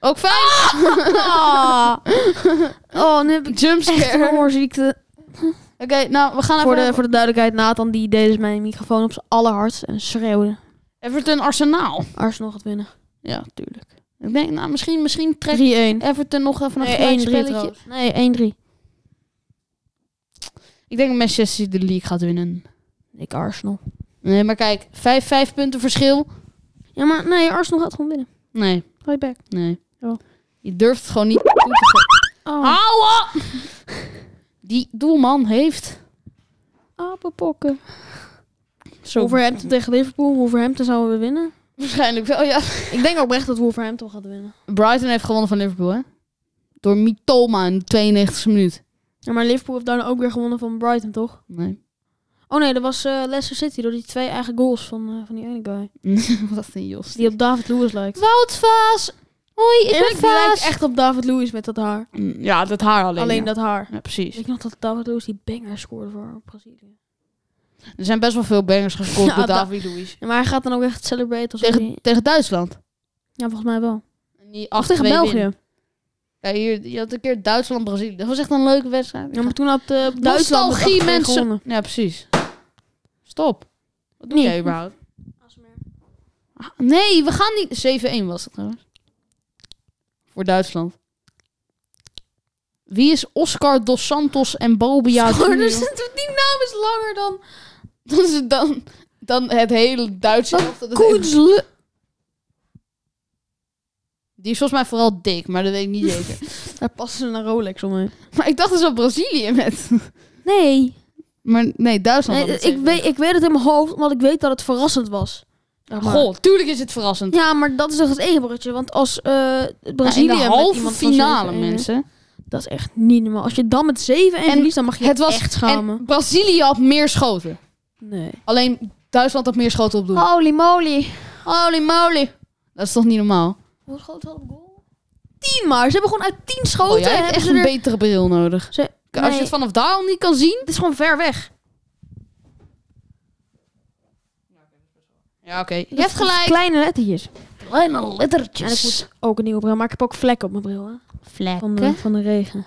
Ook fijn? Ah. <laughs> Oh, nu heb ik echt een Jumpscare. hoorziekte. <laughs> Oké, nou, we gaan Voor even... de, voor de duidelijkheid, Nathan die deed dus mijn microfoon op zijn allerhardst en schreeuwde. Everton Arsenaal. Arsenal gaat winnen. 3-1. Ja, tuurlijk. Ik denk, nou, misschien, misschien trekt Nee, 1-3 Everton nog even een gelijkspelletje. trouwens. Nee, 1-3. Ik denk dat Manchester City de league gaat winnen. Ik Arsenal. Nee, maar kijk, vijf, vijf punten verschil. Ja, maar nee, Arsenal gaat gewoon winnen. Nee, Right back. nee. Oh. Je durft het gewoon niet toe te geven. Oh, Hou <laughs> op! Die doelman heeft... Oh, apenpokken. Zo Wolverhampton tegen Liverpool. Wolverhampton zouden we winnen. waarschijnlijk wel, ja. Ik denk oprecht dat Wolverhampton gaat winnen. Brighton heeft gewonnen van Liverpool, hè? Door Mitoma in de 92e minuut. Ja, maar Liverpool heeft daarna ook weer gewonnen van Brighton, toch? Nee. <laughs> Oh nee, dat was eh, Leicester City door die twee eigen goals van, eh, van die ene guy. Dus Wat een jos. Die op David Lewis lijkt. Wout Vaas! Hoi, ik Eerlijk, ben die lijkt Vaas! echt op David Lewis met dat haar. Mm, Ja, dat haar alleen. Alleen, ja. dat haar. Ja, precies. Ik nog dat David Lewis die banger scoorde voor Brazilië. Er zijn best wel veel bangers gescoord <laughs> Ja, door da- David Luiz. Ja, maar hij gaat dan ook echt celebraten als Tegen, hij... tegen Duitsland. Ja, volgens mij wel. En Die Of tegen 8-2 België. winnen. Ja, hier, je had een keer Duitsland-Brazilië. Dat was echt een leuke wedstrijd. Ja, maar toen had eh, Duitsland met 8-2 Nostalgie, mensen. gewonnen. Ja, precies. Stop. Wat doe Nee. jij überhaupt? Ah, Nee, we gaan niet... 7-1 was het trouwens. Voor Duitsland. Wie is Oscar Dos Santos en Bobia? Goh, Junior? dus die naam is langer dan... <laughs> Dan is het dan, dan het hele Duitse... helft, dat het even- Koensle... Die is volgens mij vooral dik, maar dat weet ik niet zeker. <laughs> Daar passen ze een Rolex omheen. maar ik dacht dus op Brazilië met... Nee. Maar nee, Duitsland. Nee, ik, weet, ik weet het in mijn hoofd, omdat ik weet dat het verrassend was. Zeg maar. Goh, tuurlijk is het verrassend. Ja, maar dat is toch het enige bruggetje. Want als eh Brazilië Brazilië Nou, in de met halve iemand van finale, 7-1 mensen. Dat is echt niet normaal. Als je dan met 7-1 verliest, dan mag je Het was echt schamen. En Brazilië had meer schoten. Nee. Alleen Duitsland had meer schoten op doel. Holy moly. Holy moly. Dat is toch niet normaal? Hoe groot had op goal? 10 maar. Ze hebben gewoon uit 10 schoten. Oh, jij hebt hebben echt ze een er- betere bril nodig. Ze- Als nee, je het vanaf daar al niet kan zien. Het is gewoon ver weg. Ja, oké. Je Dat hebt is gewoon gelijk. Kleine lettertjes. Kleine En ik lettertjes. moet ook een nieuwe bril. Maar ik heb ook vlekken op mijn bril. Hè? Van, de, Vlekken. van de regen.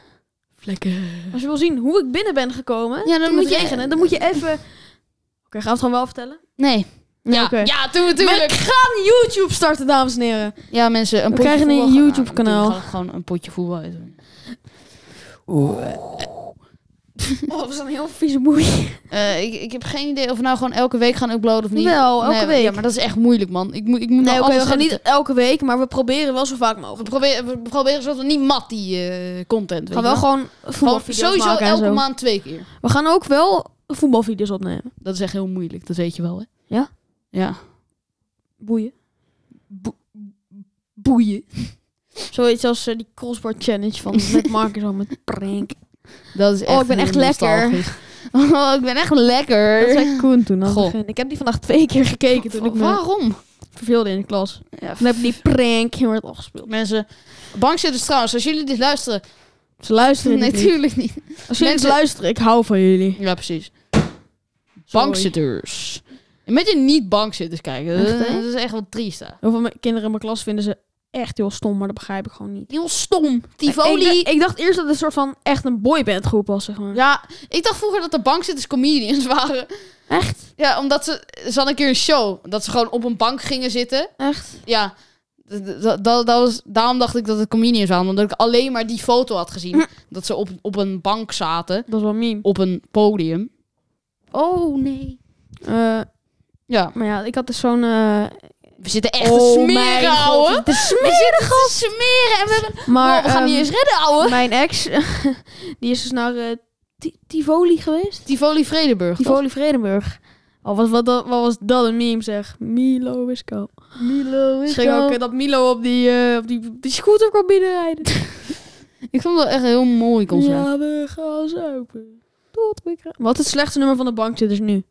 Vlekken. Als je wil zien hoe ik binnen ben gekomen, Ja, dan toen moet het je- regenen, dan moet je even... Oké, gaan we het gewoon wel vertellen? Nee. Ja, oké. ja toen natuurlijk. We gaan YouTube starten, dames en heren. Ja, mensen, een We potje krijgen een voetbal gaan- YouTube-kanaal. Nou, we gaan Gewoon een potje voetbal eten. Oh, dat is een heel vieze boei. Eh, ik, ik heb geen idee of we nou gewoon elke week gaan uploaden of niet. Wel, elke nee, week. Ja, maar dat is echt moeilijk, man. Ik moet, ik moet Nee, nou oké, alles we gaan hebben niet elke week, maar we proberen wel zo vaak te- mogelijk. We proberen, we proberen zodat we niet mat die eh, content. We weet gaan je wel. wel gewoon Gewoon voetbalvideo's sowieso maken en elke zo. maand twee keer. We gaan ook wel voetbalvideo's opnemen. Dat is echt heel moeilijk, dat weet je wel, hè? Ja? Ja. Boeien. Boeien. Zoiets als eh, die crossbar challenge <laughs> van met Marcus al met prank. Dat is echt ik ben heel echt lekker. nostalgisch. oh, ik ben echt lekker. Dat <laughs> zei Koen toen aan het Goh. begin. Ik heb die vandaag twee keer gekeken toen ik me Waarom? verveelde in de klas. Ja, Toen heb ik die prank heel hard afgespeeld. mensen, bankzitters trouwens, als jullie dit luisteren... Ze luisteren Nee, dit niet. natuurlijk niet. Als jullie dit mensen- luisteren, ik hou van jullie. Ja, precies. Sorry. Bankzitters. En met je niet bankzitters kijken. Echt, dat, hè? dat is echt wat triest, hè? Heel veel me- kinderen in mijn klas vinden ze echt heel stom, maar dat begrijp ik gewoon niet. Heel stom. Ik, Tivoli. dacht- ik dacht eerst dat het een soort van echt een boybandgroep was, zeg maar. Ja, ik dacht vroeger dat de bankzitters comedians <laughs> waren. Echt? Ja, omdat ze... Ze hadden een keer een show. Dat ze gewoon op een bank gingen zitten. Echt? Ja. d- d- Dat, dat, was, daarom dacht ik dat het comedians waren. Omdat ik alleen maar die foto had gezien. Dat ze op, op een bank zaten. Dat is wel meme. Op een podium. Oh, nee. Eh, Ja. maar ja, ik had dus zo'n... eh, We zitten echt oh te mijn smeren, god, ouwe. het is We smerig. <laughs> zitten te smeren. En we, hebben, Maar Oh, we gaan ehm, niet eens redden, ouwe. Mijn ex, <laughs> die is dus naar eh, Ti- Tivoli geweest. Tivoli Vredenburg. Tivoli Vredenburg. Oh, wat, wat, wat was dat een meme zeg. Milo is koud. Milo Ze ging ook eh, dat Milo op die, eh, op die, op die scooter kwam <laughs> binnenrijden. Ik vond dat echt een heel mooi concert. Ja, we gaan zuipen. Tot we krijgen- Wat is het slechtste nummer van de bankzitters nu?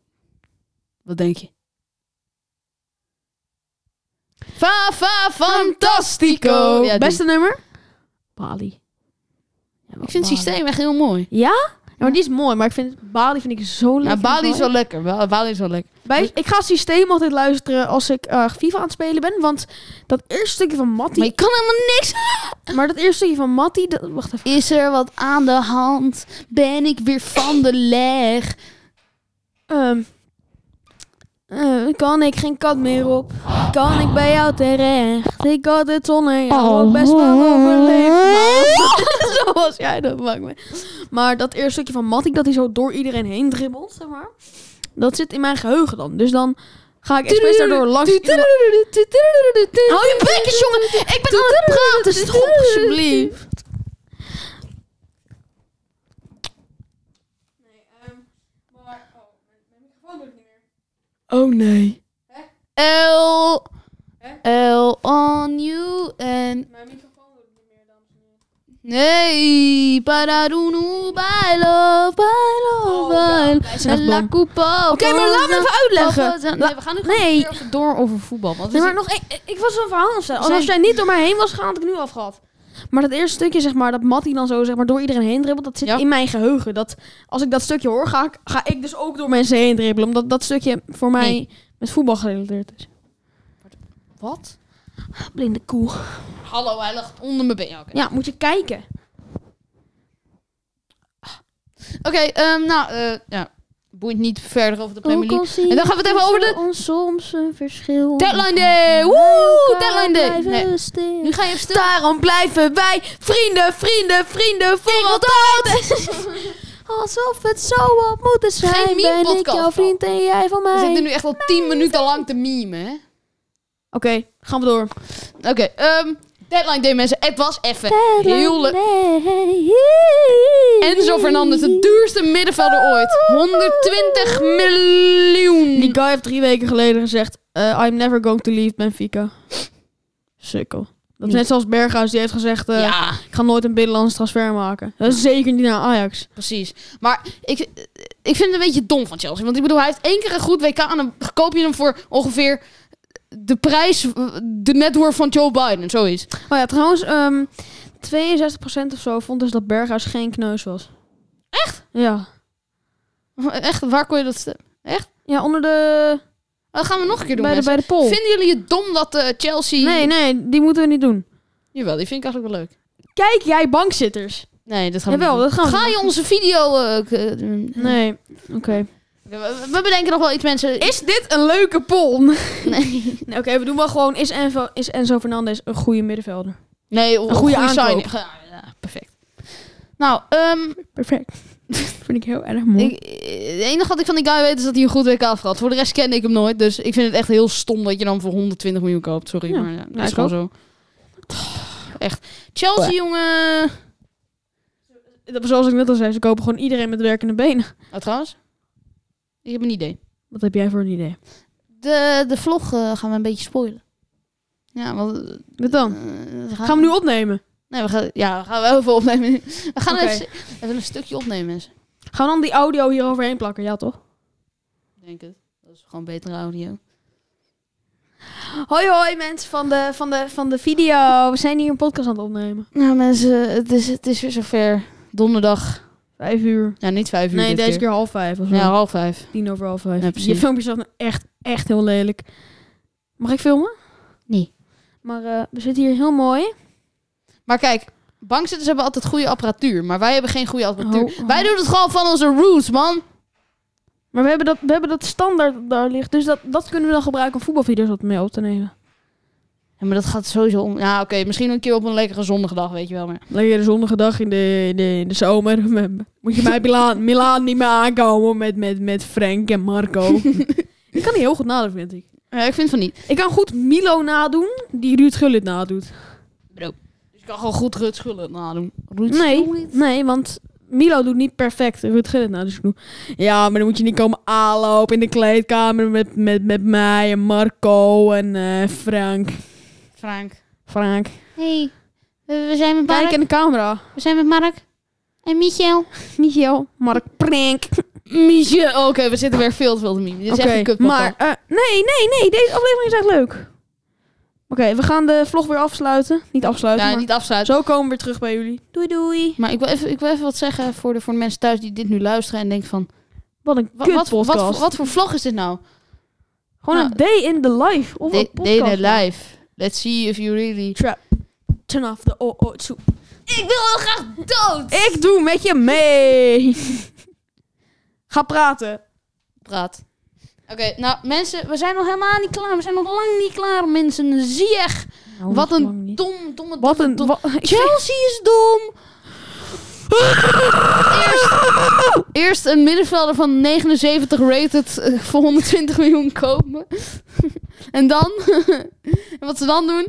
Wat denk je? Fa fa fantastico. Ja, die. Beste nummer? Bali. Ja, maar Ik vind het Bali. systeem echt heel mooi. Ja, maar die is mooi, maar ik vind Bali vind ik zo leuk. Ja, en Bali is mooi. wel lekker. Ba- Bali is wel lekker. Wij, ik ga het systeem altijd luisteren als ik eh, FIFA aan het spelen ben. Want dat eerste stukje van Matty. Maar je kan helemaal niks. Maar dat eerste stukje van Matty. dat- Wacht even. Is er wat aan de hand? Ben ik weer van de leg? Ehm, eh, kan ik geen kat meer op? Kan ik bij jou terecht? Ik had het zonder jou ook best wel overleefd. maar- <laughs> zo was jij dat, maakt me. Maar dat eerste stukje van Matty, dat hij zo door iedereen heen dribbelt, zeg maar. Dat zit in mijn geheugen dan. Dus dan ga ik expres daardoor langs. Hou je bekjes, jongen. Ik ben aan het praten. Zit goed, alsjeblieft. Oh nee. L. L on you and Nee, pararunu, bailo, bailo, bailo. wij zijn echt La dom. coupa. Oké, maar laat me even uitleggen. Nee, we gaan nu Nee. nee. door over voetbal. Want Nee, het maar is- nog één. eh, Ik- Ik was zo'n verhaal aan het vertellen. Zijn- Als jij niet door mij heen was gegaan, had ik nu afgehad. Maar dat eerste stukje, zeg maar, dat Matty dan zo zeg maar, door iedereen heen dribbelt, dat zit Ja. in mijn geheugen. Dat, als ik dat stukje hoor, ga ik, ga ik dus ook door mensen heen dribbelen. Omdat dat stukje voor mij Nee. met voetbal gerelateerd is. Wat? Blinde koe. Hallo, hij lag onder mijn been. Ja, Oké, Ja, moet je kijken. Oké, ehm, nou, eh, ja. boeit niet verder over de Premier League. En En dan gaan we het even over de Ons soms een verschil. deadline day. Woe, deadline day. Nee, nu ga je even stil. Daarom blijven wij vrienden, vrienden, vrienden voor altijd. <laughs> Alsof het zo had moeten zijn. Geen meme-podcast ben ik jouw dan. vriend en jij van We mij. zitten nu echt al 10 minuten lang te memen, hè? Oké, gaan we door. Oké, ehm, deadline day, mensen. Het was even heel leuk. Enzo Fernandez, de duurste middenvelder ooit. 120 miljoen. Die guy heeft drie weken geleden gezegd... eh, I'm never going to leave Benfica. Sukkel. Dat Niet. is net zoals Berghuis, die heeft gezegd... eh, ja, Ik ga nooit een binnenlands transfer maken. Dat is zeker niet naar Ajax. precies. Maar ik, ik vind het een beetje dom van Chelsea. Want ik bedoel, hij heeft één keer een goed WK en dan koop je hem voor ongeveer de prijs, eh, de net worth van Joe Biden, zoiets. Oh ja, trouwens, ehm 62% of zo vond dus dat Berghuis geen kneus was. Echt? Ja. Echt, waar kon je dat stemmen? Ja, onder de... Dat gaan we nog een keer doen, bij, de mensen. bij de pol. Vinden jullie het dom dat eh, Chelsea... Nee, nee, die moeten we niet doen. Jawel, die vind ik eigenlijk wel leuk. Kijk jij bankzitters. Nee, dat gaan we Jawel, niet dat gaan doen. we Ga je onze video... eh, k- Nee, oké. Oké, We, we bedenken nog wel iets, mensen. Is dit een leuke pon? Nee. <laughs> Nee, Oké, we doen wel gewoon. Is Enzo, is Enzo Fernandez een goede middenvelder? Nee, een goede goede aankoop. signing. Ja, ja, perfect. Nou, ehm, Perfect. <laughs> vind ik heel erg mooi. ik, het enige wat ik van die guy weet is dat hij een goed WK heeft gehad. Voor de rest kende ik hem nooit. Dus ik vind het echt heel stom dat je dan voor 120 miljoen koopt. Sorry, Ja, maar ja, dat ja, is ik gewoon zo. Echt. Chelsea, jongen. Dat- Zoals ik net al zei, ze kopen gewoon iedereen met werkende benen. Oh, trouwens, ik heb een idee. Wat heb jij voor een idee? De, de vlog eh, gaan we een beetje spoilen. Ja, want... eh, Wat dan? eh, Gaan we nu opnemen? Nee, we gaan, ja, we gaan wel even opnemen. We gaan Oké. even, even een stukje opnemen, mensen. Gaan we dan die audio hier overheen plakken? Ja, toch? Ik Denk het. Dat is gewoon betere audio. Hoi hoi mensen van de, van, de, van de video. We zijn hier een podcast aan het opnemen. Nou mensen, het is, het is weer zover. Donderdag. Vijf uur. Ja, niet vijf uur Nee, dit deze keer half vijf of zo. Ja, half vijf. Tien over half vijf. Ja, precies. Je filmpje zat nou echt, echt heel lelijk. Mag ik filmen? Nee. Maar eh, we zitten hier heel mooi. Maar kijk, bankzitters hebben altijd goede apparatuur. Maar wij hebben geen goede apparatuur. Oh, oh. Wij doen het gewoon van onze roots, man. Maar we hebben dat, we hebben dat standaard daar ligt. Dus dat, dat kunnen we dan gebruiken om voetbalvideo's wat mee op te nemen. Ja, maar dat gaat sowieso om... Ja, oké. misschien een keer op een lekkere zonnige dag, weet je wel. Maar... Lekker de zonnige dag in de, in de, in de zomer. <laughs> Moet je bij Milaan, Milaan niet meer aankomen met, met, met Frank en <laughs> Marco. ik kan die heel goed nadoen, vind ik. Ja, ik vind van niet. Ik kan goed Milo nadoen, die Ruud Gullit nadoet. Dus ik kan gewoon goed Rut Schullen nadoen. Ruud Nee, Schullen? nee, want Milo doet niet perfect Ruud Gullit nadoen. Dus ik doe, ja, maar dan moet je niet komen aanlopen in de kleedkamer met, met, met mij en Marco en eh, Frank. Frank. Frank. Hey, we, we zijn met Kijk in de camera. We zijn met Mark. En Michel. Michiel, Mark, Prank. Michel. Oh, Oké, we zitten weer veel te veel te meme. Dit is Oké, echt een kut maar eh, nee, nee, nee, deze aflevering is echt leuk. Oké, we gaan de vlog weer afsluiten. Niet afsluiten, Ja, maar niet afsluiten. zo komen we weer terug bij jullie. Doei doei. Maar ik wil even, ik wil even wat zeggen voor de, voor de mensen thuis die dit nu luisteren en denken van... Wat een Wat, kut wat, wat, podcast. wat, wat voor vlog is dit nou? Gewoon nou, een day in the life of een They, podcast. they live. Let's see if you really... Turn off the oh, oh, soep. Ik wil wel graag dood! Ik doe met je mee. <laughs> Ga praten. Praat. Oké, nou mensen, we zijn nog helemaal niet klaar. We zijn nog lang niet klaar, mensen. Zie echt. Wat een Dom, domme, Wat een... dom. wa- <laughs> Chelsea is dom. Eerst, eerst een middenvelder van 79 rated eh, voor 120 miljoen kopen. <laughs> en dan, <laughs> en wat ze dan doen.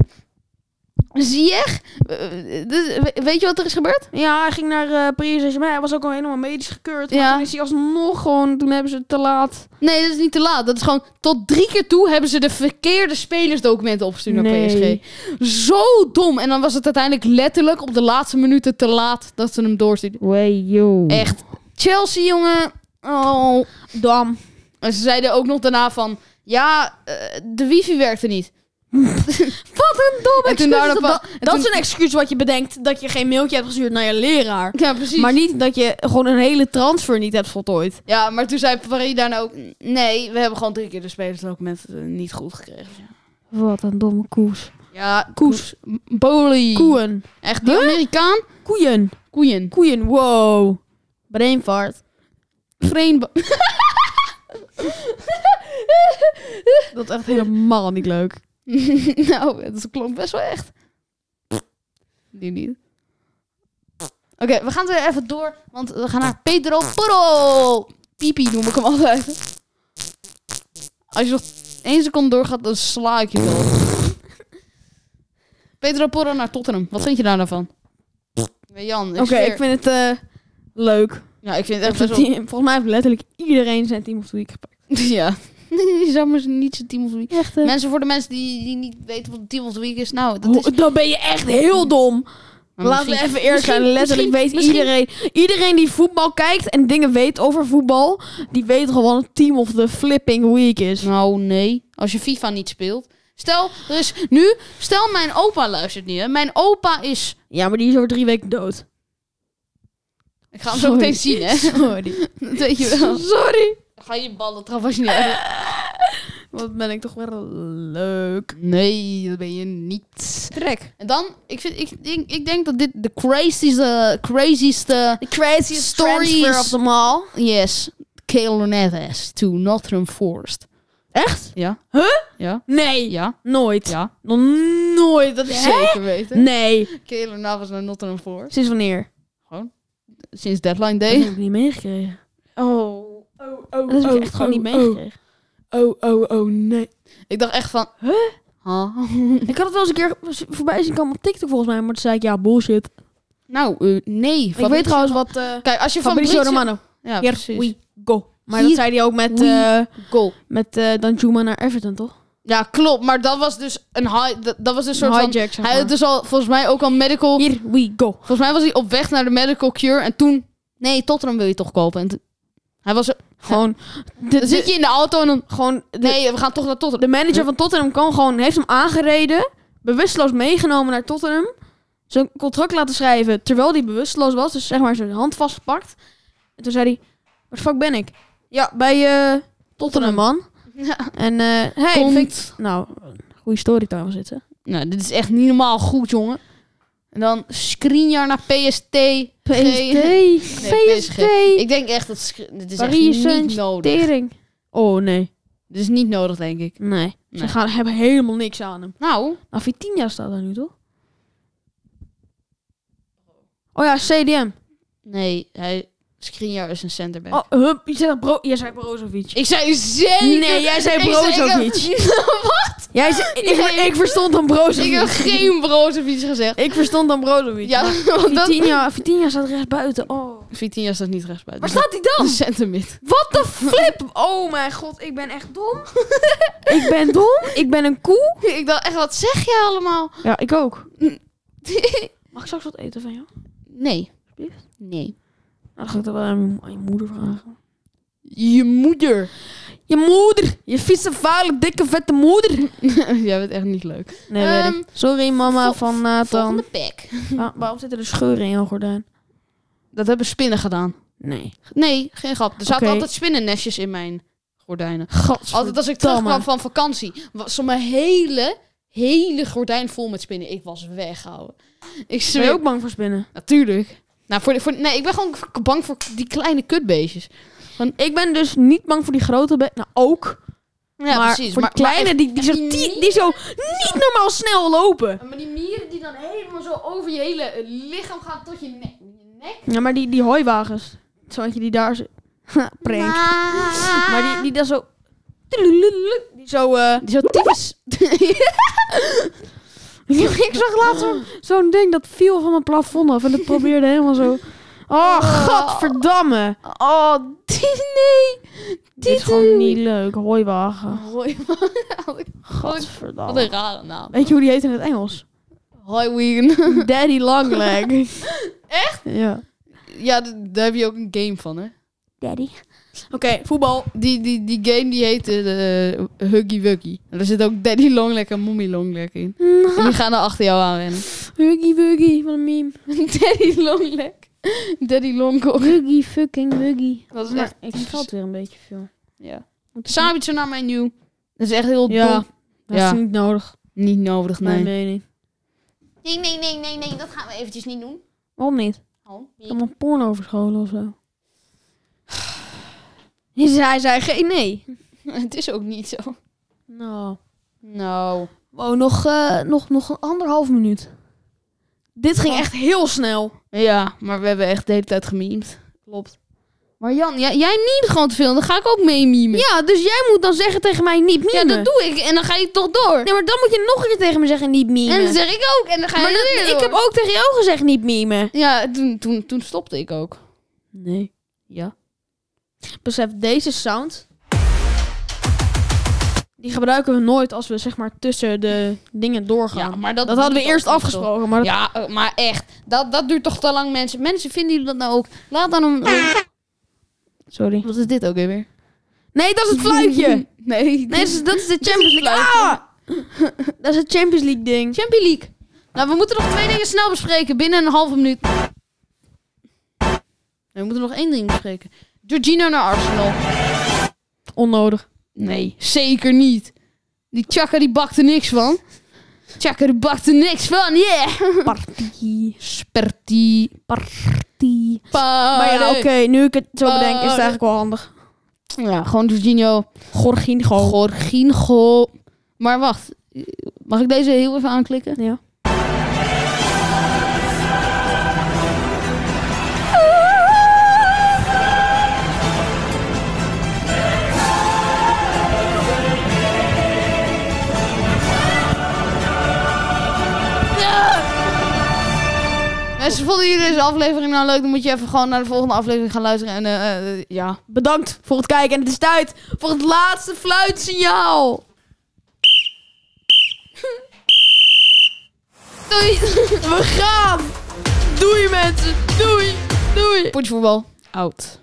Ziyech, eh, eh, dit- we- weet je wat er is gebeurd? Ja, hij ging naar eh Paris Saint-Germain. Hij was ook al helemaal medisch gekeurd. Ja. Maar toen is hij alsnog gewoon... Toen hebben ze het te laat. Nee, dat is niet te laat. Dat is gewoon tot drie keer toe hebben ze de verkeerde spelersdocumenten opgestuurd naar Nee. PSG. Zo dom. En dan was het uiteindelijk letterlijk op de laatste minuten te laat dat ze hem doorstuurden. Way yo. Echt. Chelsea, jongen. Oh. Dam. En ze zeiden ook nog daarna van... Ja, eh, de wifi werkte <laughs> niet. Dom En toen excuus. daarna Dat, pa- en dat toen- is een excuus wat je bedenkt dat je geen mailtje hebt gestuurd naar je leraar. Ja, precies. Maar niet dat je gewoon een hele transfer niet hebt voltooid. Ja, maar toen zei Paris daarna ook... Nee, we hebben gewoon drie keer de spelersdocument eh, niet goed gekregen. Wat een domme koers. Ja, Koes. Koes. Boli. Koeien. Echt, die Amerikaan? Koeien. Koeien. Koeien. Wow. Brainfart. Vreemd. Dat is echt helemaal niet <laughs> leuk. <laughs> nou, dat klonk best wel echt. Die niet. Oké, we gaan weer even door, want we gaan naar Pedro Porro. Pipi noem ik hem altijd. Als je nog één seconde doorgaat, dan sla ik je wel. Pedro Porro naar Tottenham. Wat vind je daar nou van? Nee, Jan, Oké, ik vind het eh, leuk. Ja, ik vind het echt Zijn best wel... team- volgens mij heeft letterlijk iedereen zijn team of the week gepakt. Ja. <laughs> Je zou maar niet zijn team of the week. Echt, eh, Mensen, voor de mensen die, die niet weten wat team of the week is, nou, dat is... Dan ben je echt heel dom. Laten we even eerlijk zijn. misschien- Letterlijk misschien- weet misschien- iedereen... Iedereen die voetbal kijkt en dingen weet over voetbal... die weet gewoon wat een team of the flipping week is. Nou, nee. Als je FIFA niet speelt. Stel, er is nu... Stel, mijn opa luistert niet, hè. Mijn opa is... Ja, maar die is over drie weken dood. Ik ga hem zo Sorry. meteen zien, <laughs> hè. Sorry. <laughs> Dat weet je wel. Sorry. Ga je ballen trappen als je niet uit- Wat ben ik toch wel leuk. Nee, dat ben je niet. Trek. En dan, ik, vind, ik, denk, ik denk dat dit de eh, crazieste... Crazieste... The craziest Stories. transfer of them all. eh, Yes. Kaelor Neves to Nottingham Forest. Echt? Ja. Huh? Ja. Nee. Ja. Nooit. Ja. Nog nooit. Dat is Zeker weten. Nee. Kaelor Neves naar Nottingham Forest. Sinds wanneer? Sinds deadline Dat day. heb ik niet meegekregen. Oh. Oh, oh, Dat heb ik echt gewoon niet meegekregen. Oh, oh, oh, nee. Ik dacht echt van... Huh? huh? Ik had het wel eens een keer voorbij zien komen op TikTok volgens mij, maar toen zei ik ja, bullshit. Nou, eh, nee. Ik weet trouwens wat eh Kijk, als je van Fabrizio Britse- Romano. Ja, Here precies. we go. Maar Hier dat zei hij ook met, we eh Goal. met eh Danjuma naar Everton, toch? Ja, klopt. Maar dat was dus een high... Dat, dat was een soort van... hijack, zeg Hij had maar. dus al, volgens mij ook al medical... Here we go. Volgens mij was hij op weg naar de medical cure. En toen... Nee, Tottenham wil je toch kopen. En toen- hij was er... Gewoon, Dan zit je in de auto en dan... gewoon de, Nee, we gaan toch naar Tottenham. de manager van Tottenham kan gewoon, heeft hem aangereden, bewusteloos meegenomen naar Tottenham, zijn contract laten schrijven terwijl hij bewusteloos was, dus zeg maar zijn hand vastgepakt. En toen zei hij, waar de fuck ben ik? Ja, bij eh, Tottenham, man. Ja. En eh hey, Komt. vind ik- nou, goede story trouwens dit, hè? Nou, dit is echt niet normaal goed, jongen. En dan Skriniar naar PST. PSG. PSG, Ik denk echt dat... Skri- Dit is Paris echt niet nodig. Tering. Oh nee, Dit is niet nodig, denk ik. nee. Nee. Ze gaan, hebben helemaal niks aan hem. Nou, Nou, Vitinha staat er nu toch? Oh ja, CDM. nee. Hij... Skriniar is een centerback. Oh, hup, je zei, bro jij zei Brozovic. Ik zei zeker... Nee, jij zei Ik zei- Brozovic. Ik heb, Jij zei, ik, Nee. ik verstond dan Brozovic. <laughs> ik heb geen Brozovic gezegd. Ik verstond dan Brozovic. Ja, <laughs> maar want dat... Vitinha, Vitinha staat rechts buiten. Oh. Vitinha staat niet rechts buiten. Waar staat hij dan? De centermid. What the flip? <laughs> Oh mijn god, ik ben <laughs> echt dom. ik ben dom. Ik ben een koe. ik dacht echt, wat zeg jij allemaal? Ja, ik <laughs> ook. Mag ik straks wat eten van jou? nee. Alsjeblieft. Nee. Nou, dan ga ik dat wel aan je, aan je moeder vragen. Je moeder. Je moeder! Je vieze, vuile, dikke, vette moeder! <laughs> jij bent echt niet leuk. Nee, Ehm, weet ik. Sorry, mama vol- van Nathan. Volgende pack. Wa- waarom zitten er scheuren in jouw gordijn? Dat hebben spinnen gedaan. Nee. Nee, geen grap. Er zaten Oké. altijd spinnennestjes in mijn gordijnen. God. Altijd als ik terugkwam van vakantie, was zo mijn hele, hele gordijn vol met spinnen. Ik was weghouden. Ik Ben je zweer. ook bang voor spinnen? Natuurlijk. Nou, voor, de- voor, nee, ik ben gewoon k- bang voor die kleine kutbeestjes. Ik ben dus niet bang voor die grote be- Nou, ook. Ja, maar precies. voor die kleine, die, die, zo, die die, mieren? die zo niet normaal snel lopen. Maar, maar die mieren die dan helemaal zo over je hele eh, lichaam gaan tot je nek. Je nek. Ja, maar die, die hooiwagens. Zoantje die daar... zo- <laughs> Ha, Prank. Maar die, die daar zo... Die zo... <laughs> eh, Die zo tyfus. ik zag laatst zo- <gasps> zo'n ding dat viel van mijn plafond af. En dat probeerde helemaal zo... <laughs> Oh, godverdamme. oh, die, nee. Dit is gewoon niet leuk. Hooiwagen. Hoi, Wat Godverdamme. een rare naam. Weet je hoe die heet in het Engels? Hoi, Wien. <laughs> <laughs> Daddy Longleg. Echt? Ja. Ja, d- daar heb je ook een game van, hè? Daddy. Oké, voetbal. Die, die, die game die heette eh, Huggy Wuggy. En daar zit ook Daddy Longleg en Mommy Longleg in. <laughs> En die gaan er achter jou aan rennen. Huggy Wuggy, wat een meme. <laughs> Daddy Longleg. Daddy Longkong. Huggy fucking Wuggy. Dat is Maar echt... ik valt weer een beetje veel. Ja. Moet ik- Sabitje naar mijn nieuw. Dat is echt heel Ja, dom. dat Ja. is niet nodig. Niet nodig, Mijn nee. mening. Nee, nee, nee, nee, nee. Dat gaan we eventjes niet doen. Waarom niet? Oh, Ik heb mijn porno verscholen of zo. Hij zei geen nee. <laughs> Het is ook niet zo. Nou. Nou. Wow, nog, eh, nog, nog een anderhalf minuut. Dit ging echt heel snel. Ja, maar we hebben echt de hele tijd gemiemd. Klopt. Maar Jan, jij, jij niet gewoon te veel. Dan ga ik ook mee mimen. Ja, dus jij moet dan zeggen tegen mij niet Ja, mimen. dat doe ik. En dan ga je toch door. Nee, maar dan moet je nog een keer tegen me zeggen niet mimen. En dat zeg ik ook. En dan ga je maar dat- weer ik door. heb ook tegen jou gezegd niet mimen. Ja, toen, toen, toen stopte ik ook. Nee. Ja. Besef, deze sound... Die gebruiken we nooit als we zeg maar tussen de dingen doorgaan. Ja, maar dat, dat hadden we doet eerst ook niet, afgesproken. Maar dat- Ja, eh, maar echt. Dat, dat duurt toch te lang, mensen. Mensen, vinden jullie dat nou ook? Laat dan een... Sorry. Wat is dit ook weer? <laughs> Nee, <laughs> dat is het fluitje. nee, <laughs> nee. dus dat is, dat is de Champions League. Ah! Dat is het Champions League ding. Ah, Champions League. Nou, we moeten nog twee dingen snel bespreken. Binnen een halve minuut. Nee, we moeten nog één ding bespreken. Jorginho naar Arsenal. Onnodig. Nee, zeker niet. Die Chaka die bakte niks van. Chaka die bakte niks van, yeah. Party. Sperti. Party. Party. Oh, Maar ja, oké, nu ik het zo bedenk, is het eigenlijk wel handig. Ja, gewoon Jorginho. Gorgien gewoon. Gorginho. Maar wacht. Mag ik deze heel even aanklikken? ja. Mensen, vonden jullie deze aflevering nou leuk? Dan moet je even gewoon naar de volgende aflevering gaan luisteren. En eh, eh, ja. Bedankt voor het kijken. En het is tijd voor het laatste fluitsignaal. Doei! We gaan. Doei mensen. Doei. Doei. Potjevoetbal. Out.